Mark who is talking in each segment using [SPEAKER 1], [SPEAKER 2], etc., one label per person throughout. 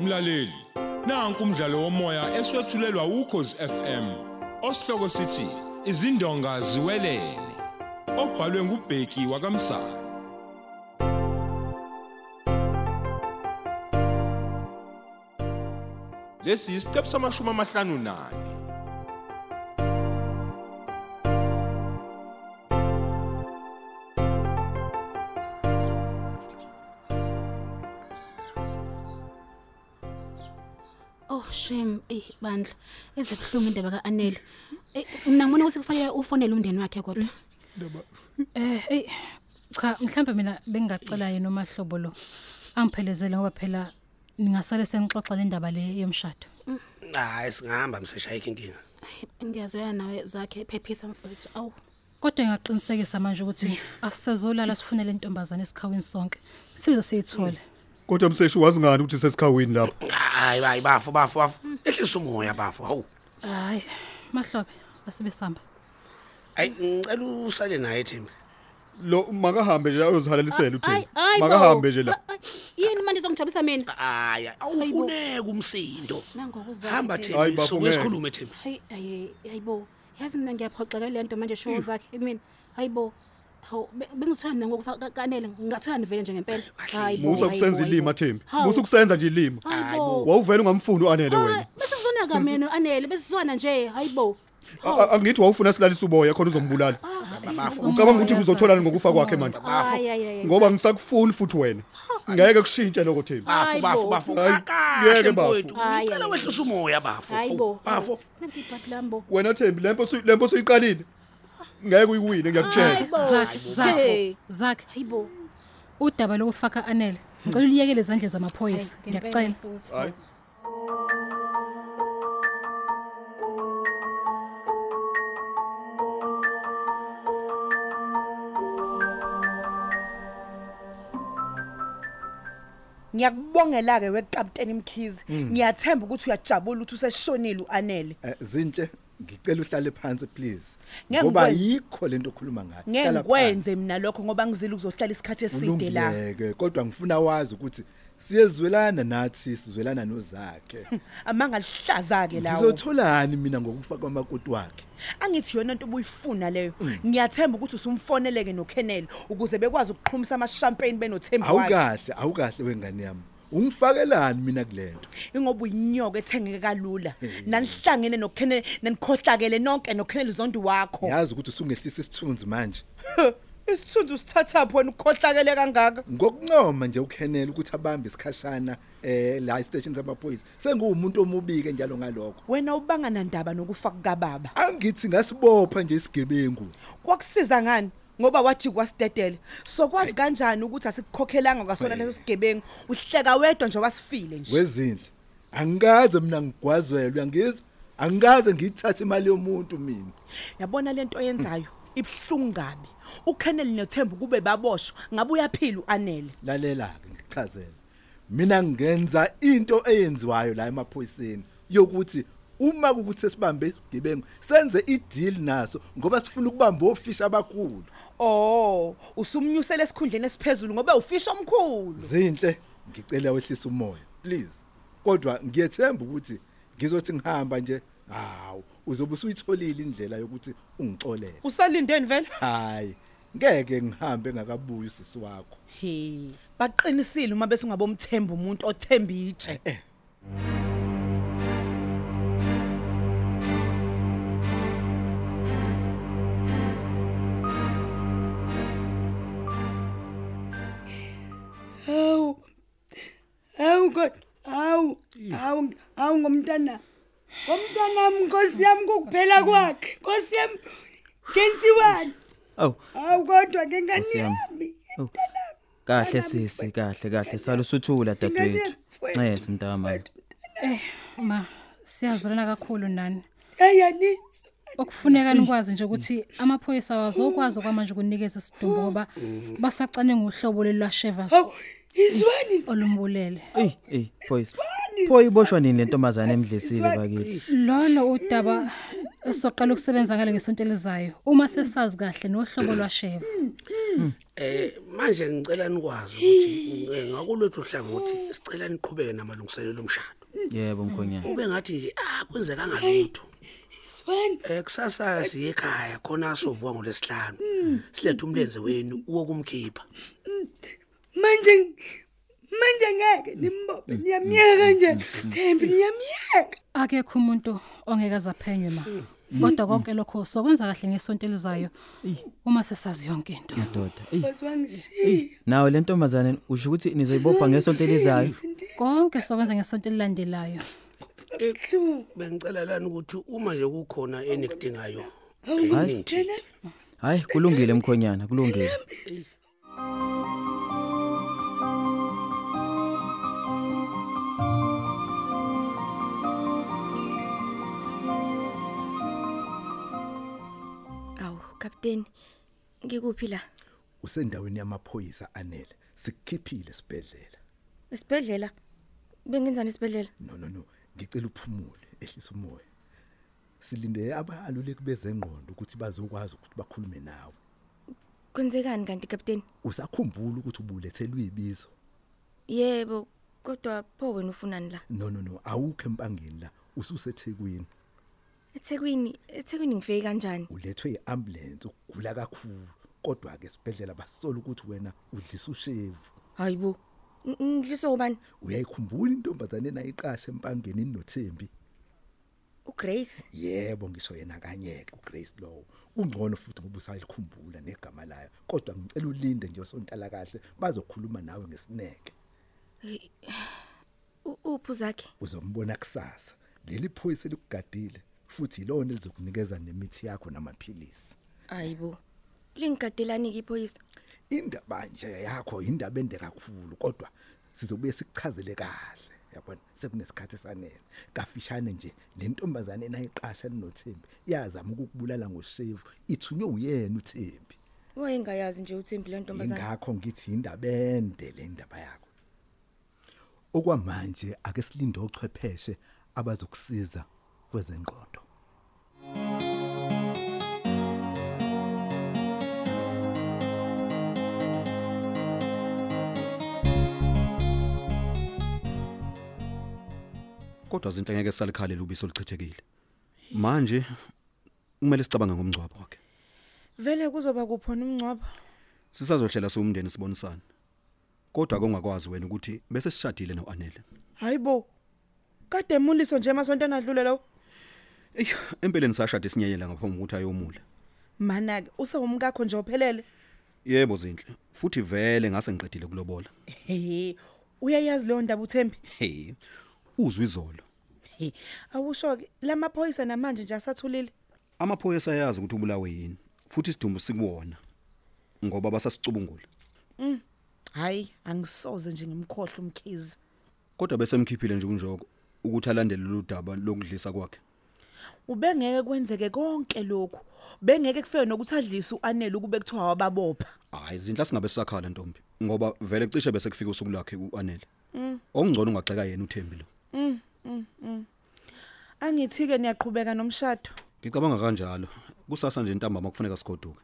[SPEAKER 1] Mlaleli, nanku umdlalo womoya eswetshulelwa ukhozi FM. Osihloko sithi izindonga ziwelele. Obhalwe ngubheki wakamsa. Lesi isiqephu samashumi amahlanu nane.
[SPEAKER 2] Oh shame eh bandla ezebhlungu indaba kaanele. Eh mina ngibona ukuthi kufanele ufonele umndeni wakhe kodwa.
[SPEAKER 3] Eh hey cha mhlambe mina bengingacela yena omahlobo lo angiphelezele ngoba phela ningasale senixoxa le ndaba le yomshado.
[SPEAKER 4] hayi singahamba mseshayikho inkinga
[SPEAKER 2] Ngiyazwela nawe zakhe iphephisa mfowethu. Awu
[SPEAKER 3] Kodwa ngiyaqinisekisa manje ukuthi asisezolala sifune le ntombazane esikhawini sonke size siyithole.
[SPEAKER 5] Kodwa umseshi wazi ngani ukuthi sesikhawini lapho?
[SPEAKER 4] hayi hayi bafo bafo bafo ehlisa umoya bafo hawu
[SPEAKER 3] Hayi mahlobe asibe samba.
[SPEAKER 4] hayi ngicela usale naye thembi
[SPEAKER 5] Lo makahambe nje
[SPEAKER 2] Ah,
[SPEAKER 5] ayozihalelisela utheni.
[SPEAKER 2] Ay, ay, bo.
[SPEAKER 5] Makahambe nje la.
[SPEAKER 2] Ay, ay, Yini manje izongijabulisa mina?
[SPEAKER 4] hayi awufuneka umsindo
[SPEAKER 2] Nangokuzwa.
[SPEAKER 4] hamba
[SPEAKER 5] Hayi,
[SPEAKER 4] thembi
[SPEAKER 5] bafo,
[SPEAKER 4] soke
[SPEAKER 5] ngeke.
[SPEAKER 4] sikhulume thembi
[SPEAKER 2] Hayi ayi ayibo. Yazi mina ngiyaphoxeka le nto manje show zakhe mina. Hayibo. Haw bengithanda ngokufa kaanele ngingathola nivele nje ngempela. Hayibo,
[SPEAKER 5] Musa
[SPEAKER 2] hayibo,
[SPEAKER 5] kusenza
[SPEAKER 2] hayibo.
[SPEAKER 5] ilima Thembi.
[SPEAKER 2] Hawu.
[SPEAKER 5] Musa kusenza nje ilima.
[SPEAKER 2] Hayibo.
[SPEAKER 5] Wawuvela ungamfuni uanele wena.
[SPEAKER 2] Besizona Ah, ka mina anele besizwana nje hayibo.
[SPEAKER 5] A- a- Angithi wawufuna silalise uboya khona
[SPEAKER 2] Ah,
[SPEAKER 5] uzombulala. Ucabanga ukuthi kuzotholani ngokufa kwakhe manje?
[SPEAKER 4] Bafo.
[SPEAKER 2] Hayi hayi hayi.
[SPEAKER 5] Ngoba ngisakufuni futhi wena. Ngeke kushintshe lokho Thembi.
[SPEAKER 4] bafo bafo
[SPEAKER 2] Hayibo.
[SPEAKER 4] bafo
[SPEAKER 5] Hayi,
[SPEAKER 4] kakahle
[SPEAKER 5] ngeke, bafo.
[SPEAKER 4] mfowethu
[SPEAKER 2] Hayi,
[SPEAKER 4] ngicela
[SPEAKER 2] hayi.
[SPEAKER 4] wehlisa umoya bafo
[SPEAKER 2] Hayibo.
[SPEAKER 4] hawu bafo
[SPEAKER 2] Nanti ibhatlambo.
[SPEAKER 5] Wena Thembi lempo suyi- lempo suyiqalile. Ngeke uyiwine ngiyakutshela.
[SPEAKER 3] Zakhe
[SPEAKER 2] Hey.
[SPEAKER 3] zakhe zakhe
[SPEAKER 2] Hayibo.
[SPEAKER 3] udaba lokufaka anele. Ngicela uliyekele izandle zamaphoyisa
[SPEAKER 2] Hayi, ngempela
[SPEAKER 3] ngiyacela.
[SPEAKER 2] mfowethu.
[SPEAKER 5] Hayi.
[SPEAKER 6] ngiyakubongela ke wekapteni Mkhize ngiyathemba ukuthi uyajabula ukuthi useshonile uanele
[SPEAKER 7] Eh, zinhle ngicela uhlale phansi please
[SPEAKER 6] Ngeke
[SPEAKER 7] ngoba
[SPEAKER 6] ngikwenze.
[SPEAKER 7] yikho lento okhuluma ngayo
[SPEAKER 6] ngeke
[SPEAKER 7] Hlala
[SPEAKER 6] ngikwenze mina lokho ngoba ngizile ukuzohlala isikhathi
[SPEAKER 7] phansi.
[SPEAKER 6] eside la
[SPEAKER 7] Ulungileke, kodwa ngifuna wazi ukuthi siyezwelana nathi sizwelana nozakhe
[SPEAKER 6] amangalihlaza ke Hmm, lawo
[SPEAKER 7] ngizotholani mina ngokufa kwamakoti wakhe
[SPEAKER 6] angithi yona into obuyifuna leyo ngiyathemba ukuthi usumfoneleke noKenel ukuze bekwazi ukuqhumisa amashampagne benothemba wakhe
[SPEAKER 7] awukahle awukahle wengane yami ungifakelani mina kulento
[SPEAKER 6] ingoba uyinyoka ethengeke kalula nanihlangene noKenel nanikhohlakele nonke noKenel zondi wakho
[SPEAKER 7] yazi ukuthi usungehlisa isithunzi manje
[SPEAKER 6] isithunzi usithatha phi wena ukhohlakele kangaka
[SPEAKER 7] ngokuncoma nje ukhenela ukuthi abambe isikhashana eh la estation samaphoyisa senguwumuntu omubike njalo ngalokho
[SPEAKER 6] wena ubangana ndaba nokufa kukababa
[SPEAKER 7] angithi ngasibopha nje isigebengu
[SPEAKER 6] kwakusiza ngani ngoba wathi kwasidedele sokwazi kanjani ukuthi asikukhokhelanga kwasona
[SPEAKER 7] Hey.
[SPEAKER 6] leso sigebengu uhleka wedwa nje wasifile nje
[SPEAKER 7] wezinhle angikaze mina ngigwazwele uyangizwa angikaze ngiyithathe imali yomuntu mina
[SPEAKER 6] yabona lento oyenzayo ibhlungu kabi uKenneth noThembu kube baboshwa ngabuya phila uanele
[SPEAKER 7] lalela-ke ngichazela mina ngenza into eyenziwayo la emaphoyiseni yokuthi uma kukuthi sesibambe isigebengu senze ideal naso ngoba sifuna ukubamba ofisha abakhulu
[SPEAKER 6] oh usumnyusela esikhundleni esiphezulu ngoba ufisha omkhulu
[SPEAKER 7] zinhle ngicela wehlisa umoya please kodwa ngiyethemba ukuthi ngizothi ngihamba nje hawu uzobe usuyitholile indlela yokuthi ungixolele
[SPEAKER 6] usalindeni vele
[SPEAKER 7] hayi ngeke ngihambe ngakabuyi usisi wakho
[SPEAKER 6] he baqinisile uma bese ungabomthemba umuntu othemba itshe
[SPEAKER 8] Hawu. Hawu kodwa hawu hawu hawu ngomntana. Ngomntana mnkosi yami kukuphela kwakhe. Nkosi yami kenziwani?
[SPEAKER 9] Awu.
[SPEAKER 8] Hawu kodwa
[SPEAKER 9] Nkosi
[SPEAKER 8] ngengane
[SPEAKER 9] yami.
[SPEAKER 8] yami.
[SPEAKER 9] Awu.
[SPEAKER 8] Mntana.
[SPEAKER 9] Kahle sisi, kahle kahle. Sala usuthula dadwethu. Eh simntama.
[SPEAKER 3] Ma siyazolana Eh, kakhulu nani.
[SPEAKER 8] Ayani.
[SPEAKER 3] okufuneka nikwazi nje ukuthi amaphoyisa awazokwazi kwamanje ukunikeza isidumbu ngoba basacane ngohlobo lelasheva
[SPEAKER 8] Hawu izwani?
[SPEAKER 3] olumbulele
[SPEAKER 9] Ey, ey, boys. Pho iboshwa nini le ntombazane emdlesile bakithi?
[SPEAKER 3] lolo udaba esizoqala ukusebenza ngale ngesonto elizayo uma sesazi kahle nohlobo lwasheva
[SPEAKER 4] Eh manje ngicela nikwazi ukuthi eh, ngakulwethu hlangothi sicela niqhubeke namalungiselelo omshado.
[SPEAKER 9] Yebo mkhonyana.
[SPEAKER 4] Ube ngathi nje ah kwenzeka ngalutho. Eh kusasa siye ekhaya khona sovuka ngolesihlanu. Silethe umlenze wenu wokumkhipha.
[SPEAKER 8] manje manje ngeke nimbophe niyamyeka kanjani thembi niyamyeka
[SPEAKER 3] akekho umuntu ongeke azaphenywe ma kodwa konke lokho sokwenza kahle ngesonto elizayo uma sesazi yonke into
[SPEAKER 9] Doda. Ey,
[SPEAKER 8] basi wangishiya
[SPEAKER 9] nawe le ntombazane usho ukuthi nizoyibopha
[SPEAKER 3] Mm,
[SPEAKER 9] ngesonto elizayo.
[SPEAKER 3] konke sokwenza ngesonto elilandelayo
[SPEAKER 8] hlu
[SPEAKER 4] Bengicela lana ukuthi uma nje kukhona enikudingayo.
[SPEAKER 9] Hayi. Hayi kulungile mkhonyana, kulungile.
[SPEAKER 8] awu kapteni ngikuphi la
[SPEAKER 7] usendaweni yamaphoyisa anele sikhiphile sibedlela
[SPEAKER 8] esibhedlela bengenzani esibhedlela
[SPEAKER 7] no no no ngicela uphumule ehlisa umoya silinde abaluleki bezengqondo ukuthi bazokwazi ukuthi bakhulume nawe
[SPEAKER 8] kwenzekani kanti kapteni
[SPEAKER 7] usakhumbula ukuthi ubulethelwe ibizo
[SPEAKER 8] yebo kodwa pho wena ufunani la
[SPEAKER 7] no no no awukho empangeni la ususethekwini
[SPEAKER 8] eThekwini eThekwini ngifike kanjani
[SPEAKER 7] ulethwe iambulance ugula kakhulu kodwa ke sibedlela basola ukuthi wena udlisa ushevu
[SPEAKER 8] hayibo n- ngidliswa ubani
[SPEAKER 7] uyayikhumbula intombazane enayiqasha empangeni inothembi
[SPEAKER 8] uGrace
[SPEAKER 7] yebo ngisho yena kanyeke uGrace Law ungcono futhi ngoba usalikhumbula negama layo kodwa ngicela ulinde nje usontala kahle bazokhuluma nawe ngesineke
[SPEAKER 8] U- uphu zakhe
[SPEAKER 7] uzombona kusasa leli phoyisa likugadile futhi yilona elizokunikeza nemithi yakho namaphilisi
[SPEAKER 8] hayibo lingigadelani ke iphoyisa
[SPEAKER 7] indaba nje yakho indaba ende kakhulu kodwa sizobuye sikuchazele kahle yabona sekunesikhathi sanele kafishane nje le ntombazane enayiqasha linothembi yazama ukukubulala ngoshevu ithunywe uyena uthembi
[SPEAKER 8] wayengayazi nje uThembi le ntombazana
[SPEAKER 7] ingakho ngithi indaba ende le ndaba yakho okwamanje ake silinde ochwepheshe abazokusiza kwezengqondo
[SPEAKER 10] kodwa izinto engeke salikhalela ubiso lichithekile manje kumele sicabange ngomncwawo wakhe
[SPEAKER 6] vele kuzoba kuphona umncwabo
[SPEAKER 10] sisazohlela siwumndeni sibonisane kodwa kongakwazi wena ukuthi bese sishadile noanele
[SPEAKER 6] hayibo kade emuliso nje emasonto anadlule lawo
[SPEAKER 10] eyi empeleni sashada isinyenyela ngaphambi kokuthi ayomula
[SPEAKER 6] mana-ke usewumkakho nje ophelele
[SPEAKER 10] yebo zinhle futhi vele ngase ngiqedile kulobola
[SPEAKER 6] hehe uyayazi leyo ndaba uthembi
[SPEAKER 10] hey uzwe izolo
[SPEAKER 6] he awusho-ke la maphoyisa namanje nje asathulile
[SPEAKER 10] amaphoyisa ayazi ukuthi ubulawe yini futhi isidumbu sikuwona ngoba basasicubungula
[SPEAKER 6] um hhayi angisoze nje ngimkhohle umkhizi
[SPEAKER 10] kodwa bese mkhiphile nje kunjoko ukuthi alandele lolu daba lokudlisa kwakhe
[SPEAKER 6] ubengeke kwenzeke konke lokhu bengeke kufike nokuthi adlise u-anele ukube kuthiwa wababopha
[SPEAKER 10] hayi zinhle singabe sisakhala ntombi ngoba vele kucishe bese kufika usuku lakhe uanele
[SPEAKER 6] Mm.
[SPEAKER 10] okungcono ungagxeka yena uthembi lo
[SPEAKER 6] Mm, mm, mm. angithi-ke niyaqhubeka nomshado
[SPEAKER 10] ngicabanga kanjalo kusasa nje ntambama kufuneka sigoduke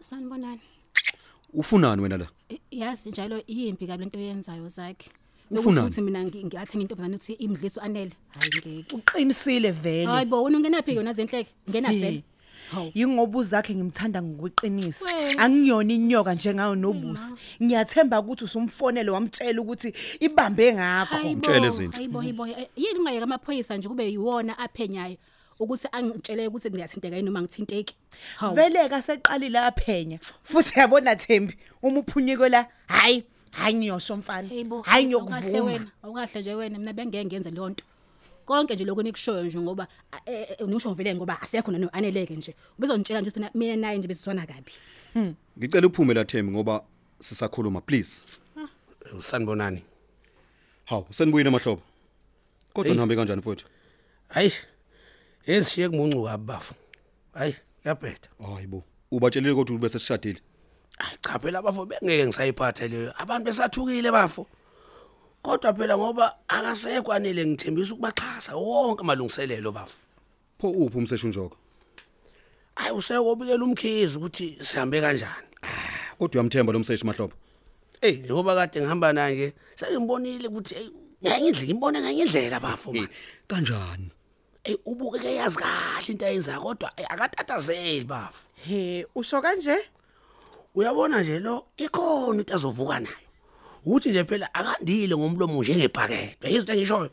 [SPEAKER 2] sanibonani
[SPEAKER 10] ufunani wena la
[SPEAKER 2] I- yazi njalo iyimbi kabi lento oyenzayo zakhe
[SPEAKER 10] Ufunani?
[SPEAKER 2] ukuthi mina ngi- ngathi ngintombazane uthi imdliso anele hayi ngeke
[SPEAKER 6] uqinisile vele
[SPEAKER 2] hayi bo wena ungenaphi yona zenhleke ngena vele
[SPEAKER 6] yingoba uzakhe ngimthanda ngokweqiniso
[SPEAKER 2] Wena.
[SPEAKER 6] angiyona inyoka njengayo nobusi ngiyathemba ukuthi usumfonele wamtshela ukuthi ibambe ngakho
[SPEAKER 2] Hayibo,
[SPEAKER 10] Mtshele Zinhle.
[SPEAKER 2] hayibo hayibo Eh, yini ungayeka amaphoyisa nje kube yiwona aphenyayo ukuthi angitshele ukuthi ngiyathinteka yini noma ngithinteki hawu
[SPEAKER 6] veleke aseqalile aphenya futhi yabona thembi uma uphunyiko la hhayi hhayi ngiyosho mfana
[SPEAKER 2] Hayibo,
[SPEAKER 6] hhayi
[SPEAKER 2] awukahle
[SPEAKER 6] ngiyokuvuma
[SPEAKER 2] wena awukahle nje wena mina bengeke ngenze leyo nto konke nje lokho nikushoyo nje ngoba eh, eh, nisho vele ngoba asekho nani aneleke nje ubezonitshela nje ukuthi mina- mina naye nje besizwana kabi
[SPEAKER 10] ngicela uphume la thembi ngoba sisakhuluma please
[SPEAKER 4] Ah. Usanibonani.
[SPEAKER 10] hawu senibuyile emahlobo kodwa
[SPEAKER 4] Eyi.
[SPEAKER 10] nihambe kanjani futhi
[SPEAKER 4] Hayi. Ezishiye kumuncuka abafu. Hayi, yabhetha.
[SPEAKER 10] hayi bo ubatshelile kodwa ukuthi bese sishadile
[SPEAKER 4] Hayi cha phela abafo bengeke ngisayiphatha leyo. Abantu besathukile bafo. Kodwa phela ngoba akasekwanele ngithembisa ukubaxhasa wonke amalungiselelo bafo.
[SPEAKER 10] pho uphi umseshu njoko
[SPEAKER 4] hayi useyokobikela umkhizi ukuthi sihambe kanjani
[SPEAKER 10] Ah, kodwa uyamthemba lo mseshi mahlobo
[SPEAKER 4] eyi njengoba kade ngihamba naye nje sengimbonile ukuthi eyi ngenye indlela imbone ngenye indlela bafo mani
[SPEAKER 10] kanjani
[SPEAKER 4] eyi ubukeke yazi kahle into ayenzayo kodwa eyi, akatatazeli bafo
[SPEAKER 6] he usho kanje
[SPEAKER 4] uyabona nje lo ikhona into azovuka nayo ukuthi nje phela akandile ngomlomo njengebhakede yizwa into engishoyo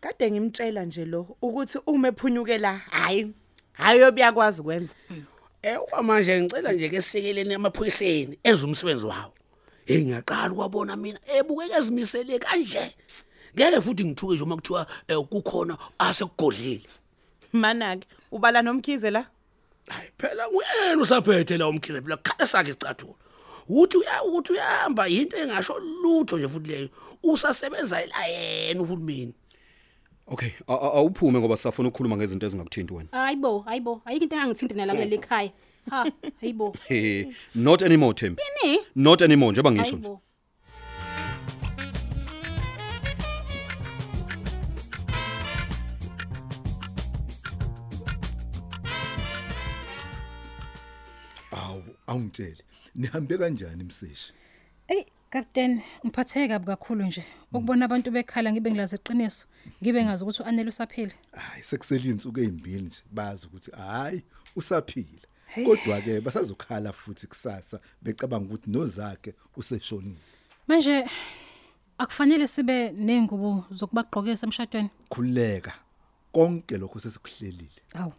[SPEAKER 6] kade ngimtshela nje lo ukuthi uma ephunyukela hayi hayi obiyakwazi kwenza
[SPEAKER 4] Eh manje ngicela nje ke sikeleni amaphoyiseni enza umsebenzi wawo. Hey ngiyaqala ukwabona mina ebukeke ezimisele kanje. Ngeke futhi ngithuke nje uma kuthiwa eh, kukhona asekugodlile.
[SPEAKER 6] mana ke ubala nomkhize la
[SPEAKER 4] Hayi phela nguyena usaphethe la umkhize phela khala sakhe isicathulo. Uthi uya- ukuthi uyahamba into engasho lutho nje futhi leyo usasebenza la yena uhulumeni.
[SPEAKER 10] okay a- a- awuphume ngoba safuna ukukhuluma ngezinto ezingakuthinti wena
[SPEAKER 2] hayi bo hayi bo ayikho into engangithinte nala kuleli khaya ha hayi bo
[SPEAKER 10] he not anymore Thembi
[SPEAKER 2] ini
[SPEAKER 10] not anymore njengoba
[SPEAKER 2] hayi
[SPEAKER 10] ngisho nje
[SPEAKER 2] bo
[SPEAKER 7] awu awungitshele nihambe kanjani mseshi
[SPEAKER 3] Ey, Captain, ngiphatheke kabi kakhulu nje. Ukubona abantu bekhala ngibe ngilaze iqiniso, ngibe ngazi ukuthi uanele usaphila.
[SPEAKER 7] hayi sekusele insuku ezimbili nje bazi ukuthi hayi usaphila
[SPEAKER 3] Hey.
[SPEAKER 7] kodwa ke basazokhala futhi kusasa becabanga ukuthi nozakhe useshonile
[SPEAKER 3] Manje akufanele sibe nengubo zokubagqokisa emshadweni.
[SPEAKER 7] khululeka konke lokho sesikuhlelile
[SPEAKER 3] Awu.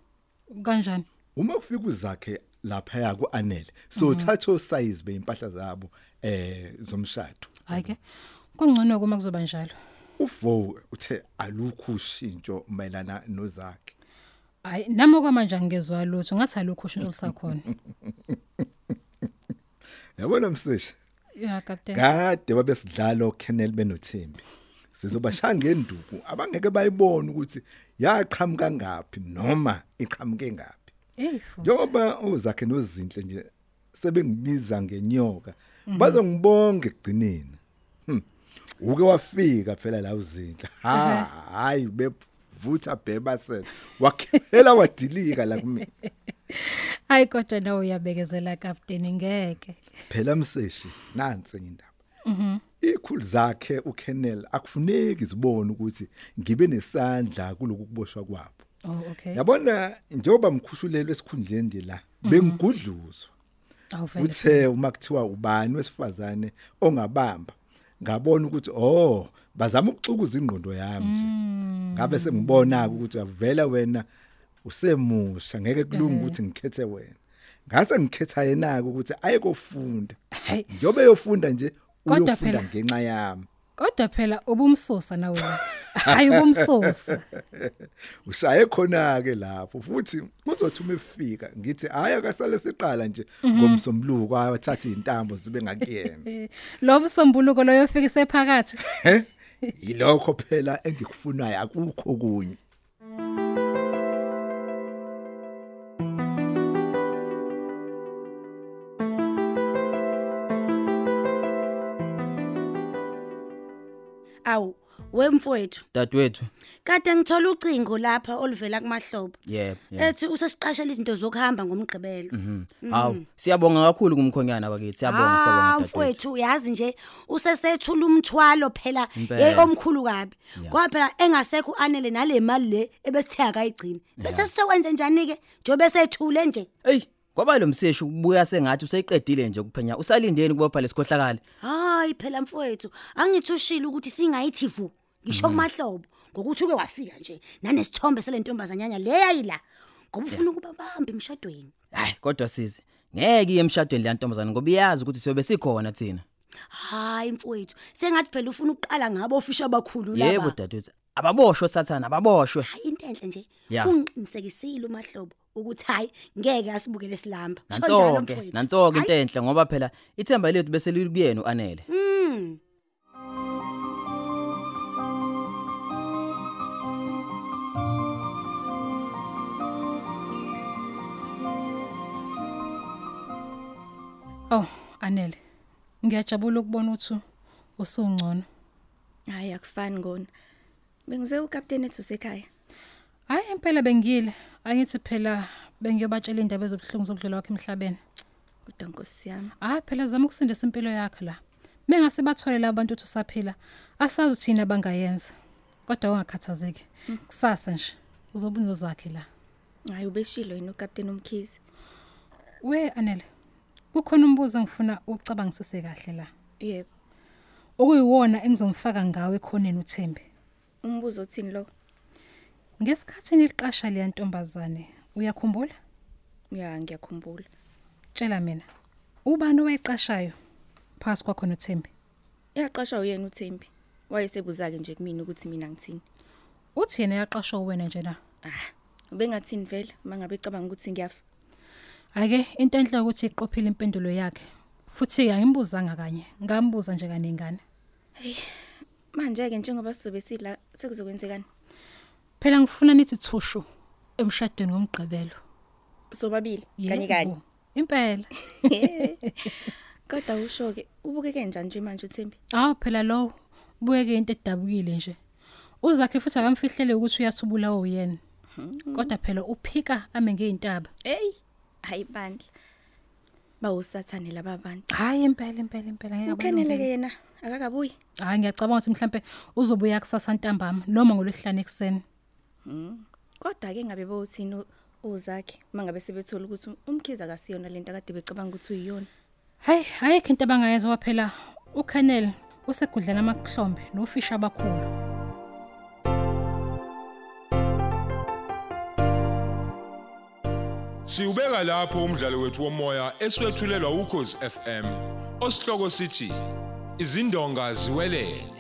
[SPEAKER 3] Kanjani?
[SPEAKER 7] uma kufika uzakhe lapha kuanele so thatha osize beimpahla zabo eh zomshado
[SPEAKER 3] Hayi ke. Kungcono kuma kuzoba njalo.
[SPEAKER 7] uvo uthe alukho ushintsho mayelana nozakhe
[SPEAKER 3] Hayi, nami okwamanje angezwa lutho, ngathi alukho ushintsho lisakhona.
[SPEAKER 7] yabona msisha
[SPEAKER 3] Yeah, Captain.
[SPEAKER 7] kade babesidlala uKenneth benothembi sizobashaya ngenduku abangeke bayibone ukuthi yaqhamuka ngapi noma iqhamuke ngapi
[SPEAKER 3] Ey, futhi.
[SPEAKER 7] njengoba uzakhe nozinhle nje sebengibiza ngenyoka bazongibonga ekugcineni Hmm. uke wafika phela la uzinhle ha hayi bevutha bebasela wakhela wadilika la kumina
[SPEAKER 3] Hayi kodwa nawe uyabekezela Captain ngeke. Mhm.
[SPEAKER 7] phela mseshi nansi indaba ikhulu zakhe uKennel akufuneki izibone ukuthi ngibe nesandla kuloku kuboshwa kwabo
[SPEAKER 3] Oh, okay.
[SPEAKER 7] yabona njengoba mkhushulelwe esikhundleni nje la
[SPEAKER 3] Mhm.
[SPEAKER 7] bengigudluzwa
[SPEAKER 3] Awuvele.
[SPEAKER 7] uthe uma kuthiwa ubani wesifazane ongabamba ngabona ukuthi oh bazama ukuxukuza ingqondo yami nje
[SPEAKER 3] Hmm.
[SPEAKER 7] ngabe sengibona ukuthi avela wena usemusha ngeke
[SPEAKER 3] Eh.
[SPEAKER 7] kulunge ukuthi ngikhethe wena ngase ngikhetha yena ukuthi ayekofunda
[SPEAKER 3] Hayi.
[SPEAKER 7] njobe yofunda nje
[SPEAKER 3] Kodwa
[SPEAKER 7] uyofunda
[SPEAKER 3] phela-
[SPEAKER 7] ngenxa yami
[SPEAKER 3] Kodwa phela ubumsusa nawe. Hayi ubumsusa.
[SPEAKER 7] ushaye khona ke lapho futhi kuzothi uma efika ngithi hayi akasale siqala nje ngomsombuluko ayathatha izintambo zibe ngakuyena
[SPEAKER 3] Eh, Lo msombuluko loyo ofike sephakathi.
[SPEAKER 7] he yilokho phela engikufunayo akukho kunye
[SPEAKER 11] Awu, wemfowethu,
[SPEAKER 9] dadwethu
[SPEAKER 11] kade ngithola ucingo lapha oluvela kumahlobo.
[SPEAKER 9] yebo yebo
[SPEAKER 11] Ethi usesiqashela izinto zokuhamba ngomgqibelo.
[SPEAKER 9] Mhm.
[SPEAKER 11] Mhm.
[SPEAKER 9] Hawu, siyabonga kakhulu kumkhonyana bakithi. Siyabonga,
[SPEAKER 11] Ah,
[SPEAKER 9] siyabonga dadwethu.
[SPEAKER 11] mfowethu, uyazi nje usesethula umthwalo phela
[SPEAKER 9] Impela.
[SPEAKER 11] hey omkhulu kabi. Ngoba phela engasekho anele nale mali le ebesithe akayigcini. Bese sizokwenza njani ke? Njobe sethule nje.
[SPEAKER 9] Ey, kwaba lo mseshi ubuya sengathi useyiqedile nje ukuphenya. Usalindeni kubopha lesikhohlakala.
[SPEAKER 11] Hayi phela mfowethu, angithushile ukuthi singayithi vu. Ngisho
[SPEAKER 9] Mm-hmm.
[SPEAKER 11] kumahlobo ngokuthi uke wafika nje nanesithombe selentombazanyanya leyayila. Ngoba ufuna ukuba bambe emshadweni.
[SPEAKER 9] Hayi, kodwa sisi, ngeke iye emshadweni le ntombazana ngoba iyazi ukuthi siyobe sikhona thina.
[SPEAKER 11] hayi mfowethu sengathi phela ufuna ukuqala ngabo ofisha abakhulu
[SPEAKER 9] Yebo
[SPEAKER 11] laba
[SPEAKER 9] dadwethu. Ababoshwe sathana, ababoshwe.
[SPEAKER 11] into enhle nje
[SPEAKER 9] Ya.
[SPEAKER 11] ungiqinisekisile umahlobo ukuthi hayi ngeke asibukele silamba Sho njalo
[SPEAKER 9] Nantsonke,
[SPEAKER 11] mfowethu.
[SPEAKER 9] nantsonke into enhle ngoba phela ithemba lethu bese likuyena uanele.
[SPEAKER 11] Mm.
[SPEAKER 3] Oh, Anele. Ngiyajabula ukubona uthu usungcono.
[SPEAKER 8] Hayi akufani ngona. Bengize uCaptain ethu sekhaya.
[SPEAKER 3] Hayi impela bengile. Angithi phela bengiyobatshela indaba ezobhlungu zokudlula kwakhe emhlabeni.
[SPEAKER 8] Kodwa Nkosi yami.
[SPEAKER 3] Hayi phela zama ukusindisa impilo yakhe la. Mengase bathole labantu ukuthi usaphila. Asazi uthina bangayenza. Kodwa ungakhathazeki.
[SPEAKER 8] Mm.
[SPEAKER 3] Kusasa nje uzobuno zakhe la.
[SPEAKER 8] Hayi ubeshilo yini uCaptain Umkhize?
[SPEAKER 3] We Anele. Kukhona umbuzo ngifuna ucabangisise kahle la.
[SPEAKER 8] Yebo.
[SPEAKER 3] Okuyiwona engizomfaka ngawe ekhoneni uThembi.
[SPEAKER 8] Umbuzo uthini lo?
[SPEAKER 3] Ngesikhathi niliqasha leya ntombazane, uyakhumbula?
[SPEAKER 8] Ya, ngiyakhumbula.
[SPEAKER 3] Tshela mina. Ubani owayiqashayo? Phasi kwakho noThembi.
[SPEAKER 8] Yaqashwa uyena uThembi. Wayesebuzake nje kimi ukuthi mina ngithini.
[SPEAKER 3] Uthi yena yaqashwa uwena nje la.
[SPEAKER 8] Ah, ubengathini vele mangabe icabanga ukuthi ngiyafa.
[SPEAKER 3] Ake into enhle ukuthi iqophile impendulo yakhe. Futhi angimbuzanga kanye, ngambuza nje kaningane.
[SPEAKER 8] Hey. Manje ke njengoba sizobe sila sekuzokwenzekani?
[SPEAKER 3] Phela ngifuna nithi thushu emshadweni womgqibelo.
[SPEAKER 8] Sobabili kanye kanye.
[SPEAKER 3] Impela.
[SPEAKER 8] Kodwa usho ke ubukeke njani nje manje uThembi?
[SPEAKER 3] Hawu phela lo ubuyeke into edabukile nje. Uzakhe futhi akamfihlele ukuthi uyathubula uyena.
[SPEAKER 8] Mm.
[SPEAKER 3] Kodwa phela uphika ame ngeintaba.
[SPEAKER 8] Hey, hayi bandla. Bawusathane laba bantu.
[SPEAKER 3] Hayi impela impela impela ngeke
[SPEAKER 8] Ukheneleke yena akakabuyi.
[SPEAKER 3] Hayi ngiyacabanga ukuthi mhlambe uzobuya kusasa ntambama noma ngolwesihlanu ekseni.
[SPEAKER 8] Mm. Kodwa ke ngabe bowuthini ozakhe mangabe sebethola ukuthi umkhiza kasiyona lento akade becabanga ukuthi uyiyona.
[SPEAKER 3] Hey, hayi into abangayenza waphela. UKennel usegudlela amakuhlombe nofisha abakhulu.
[SPEAKER 1] Siubeka lapho umdlalo wethu womoya eswetshulelwa ukhozi FM. Osihloko sithi izindonga ziwelele.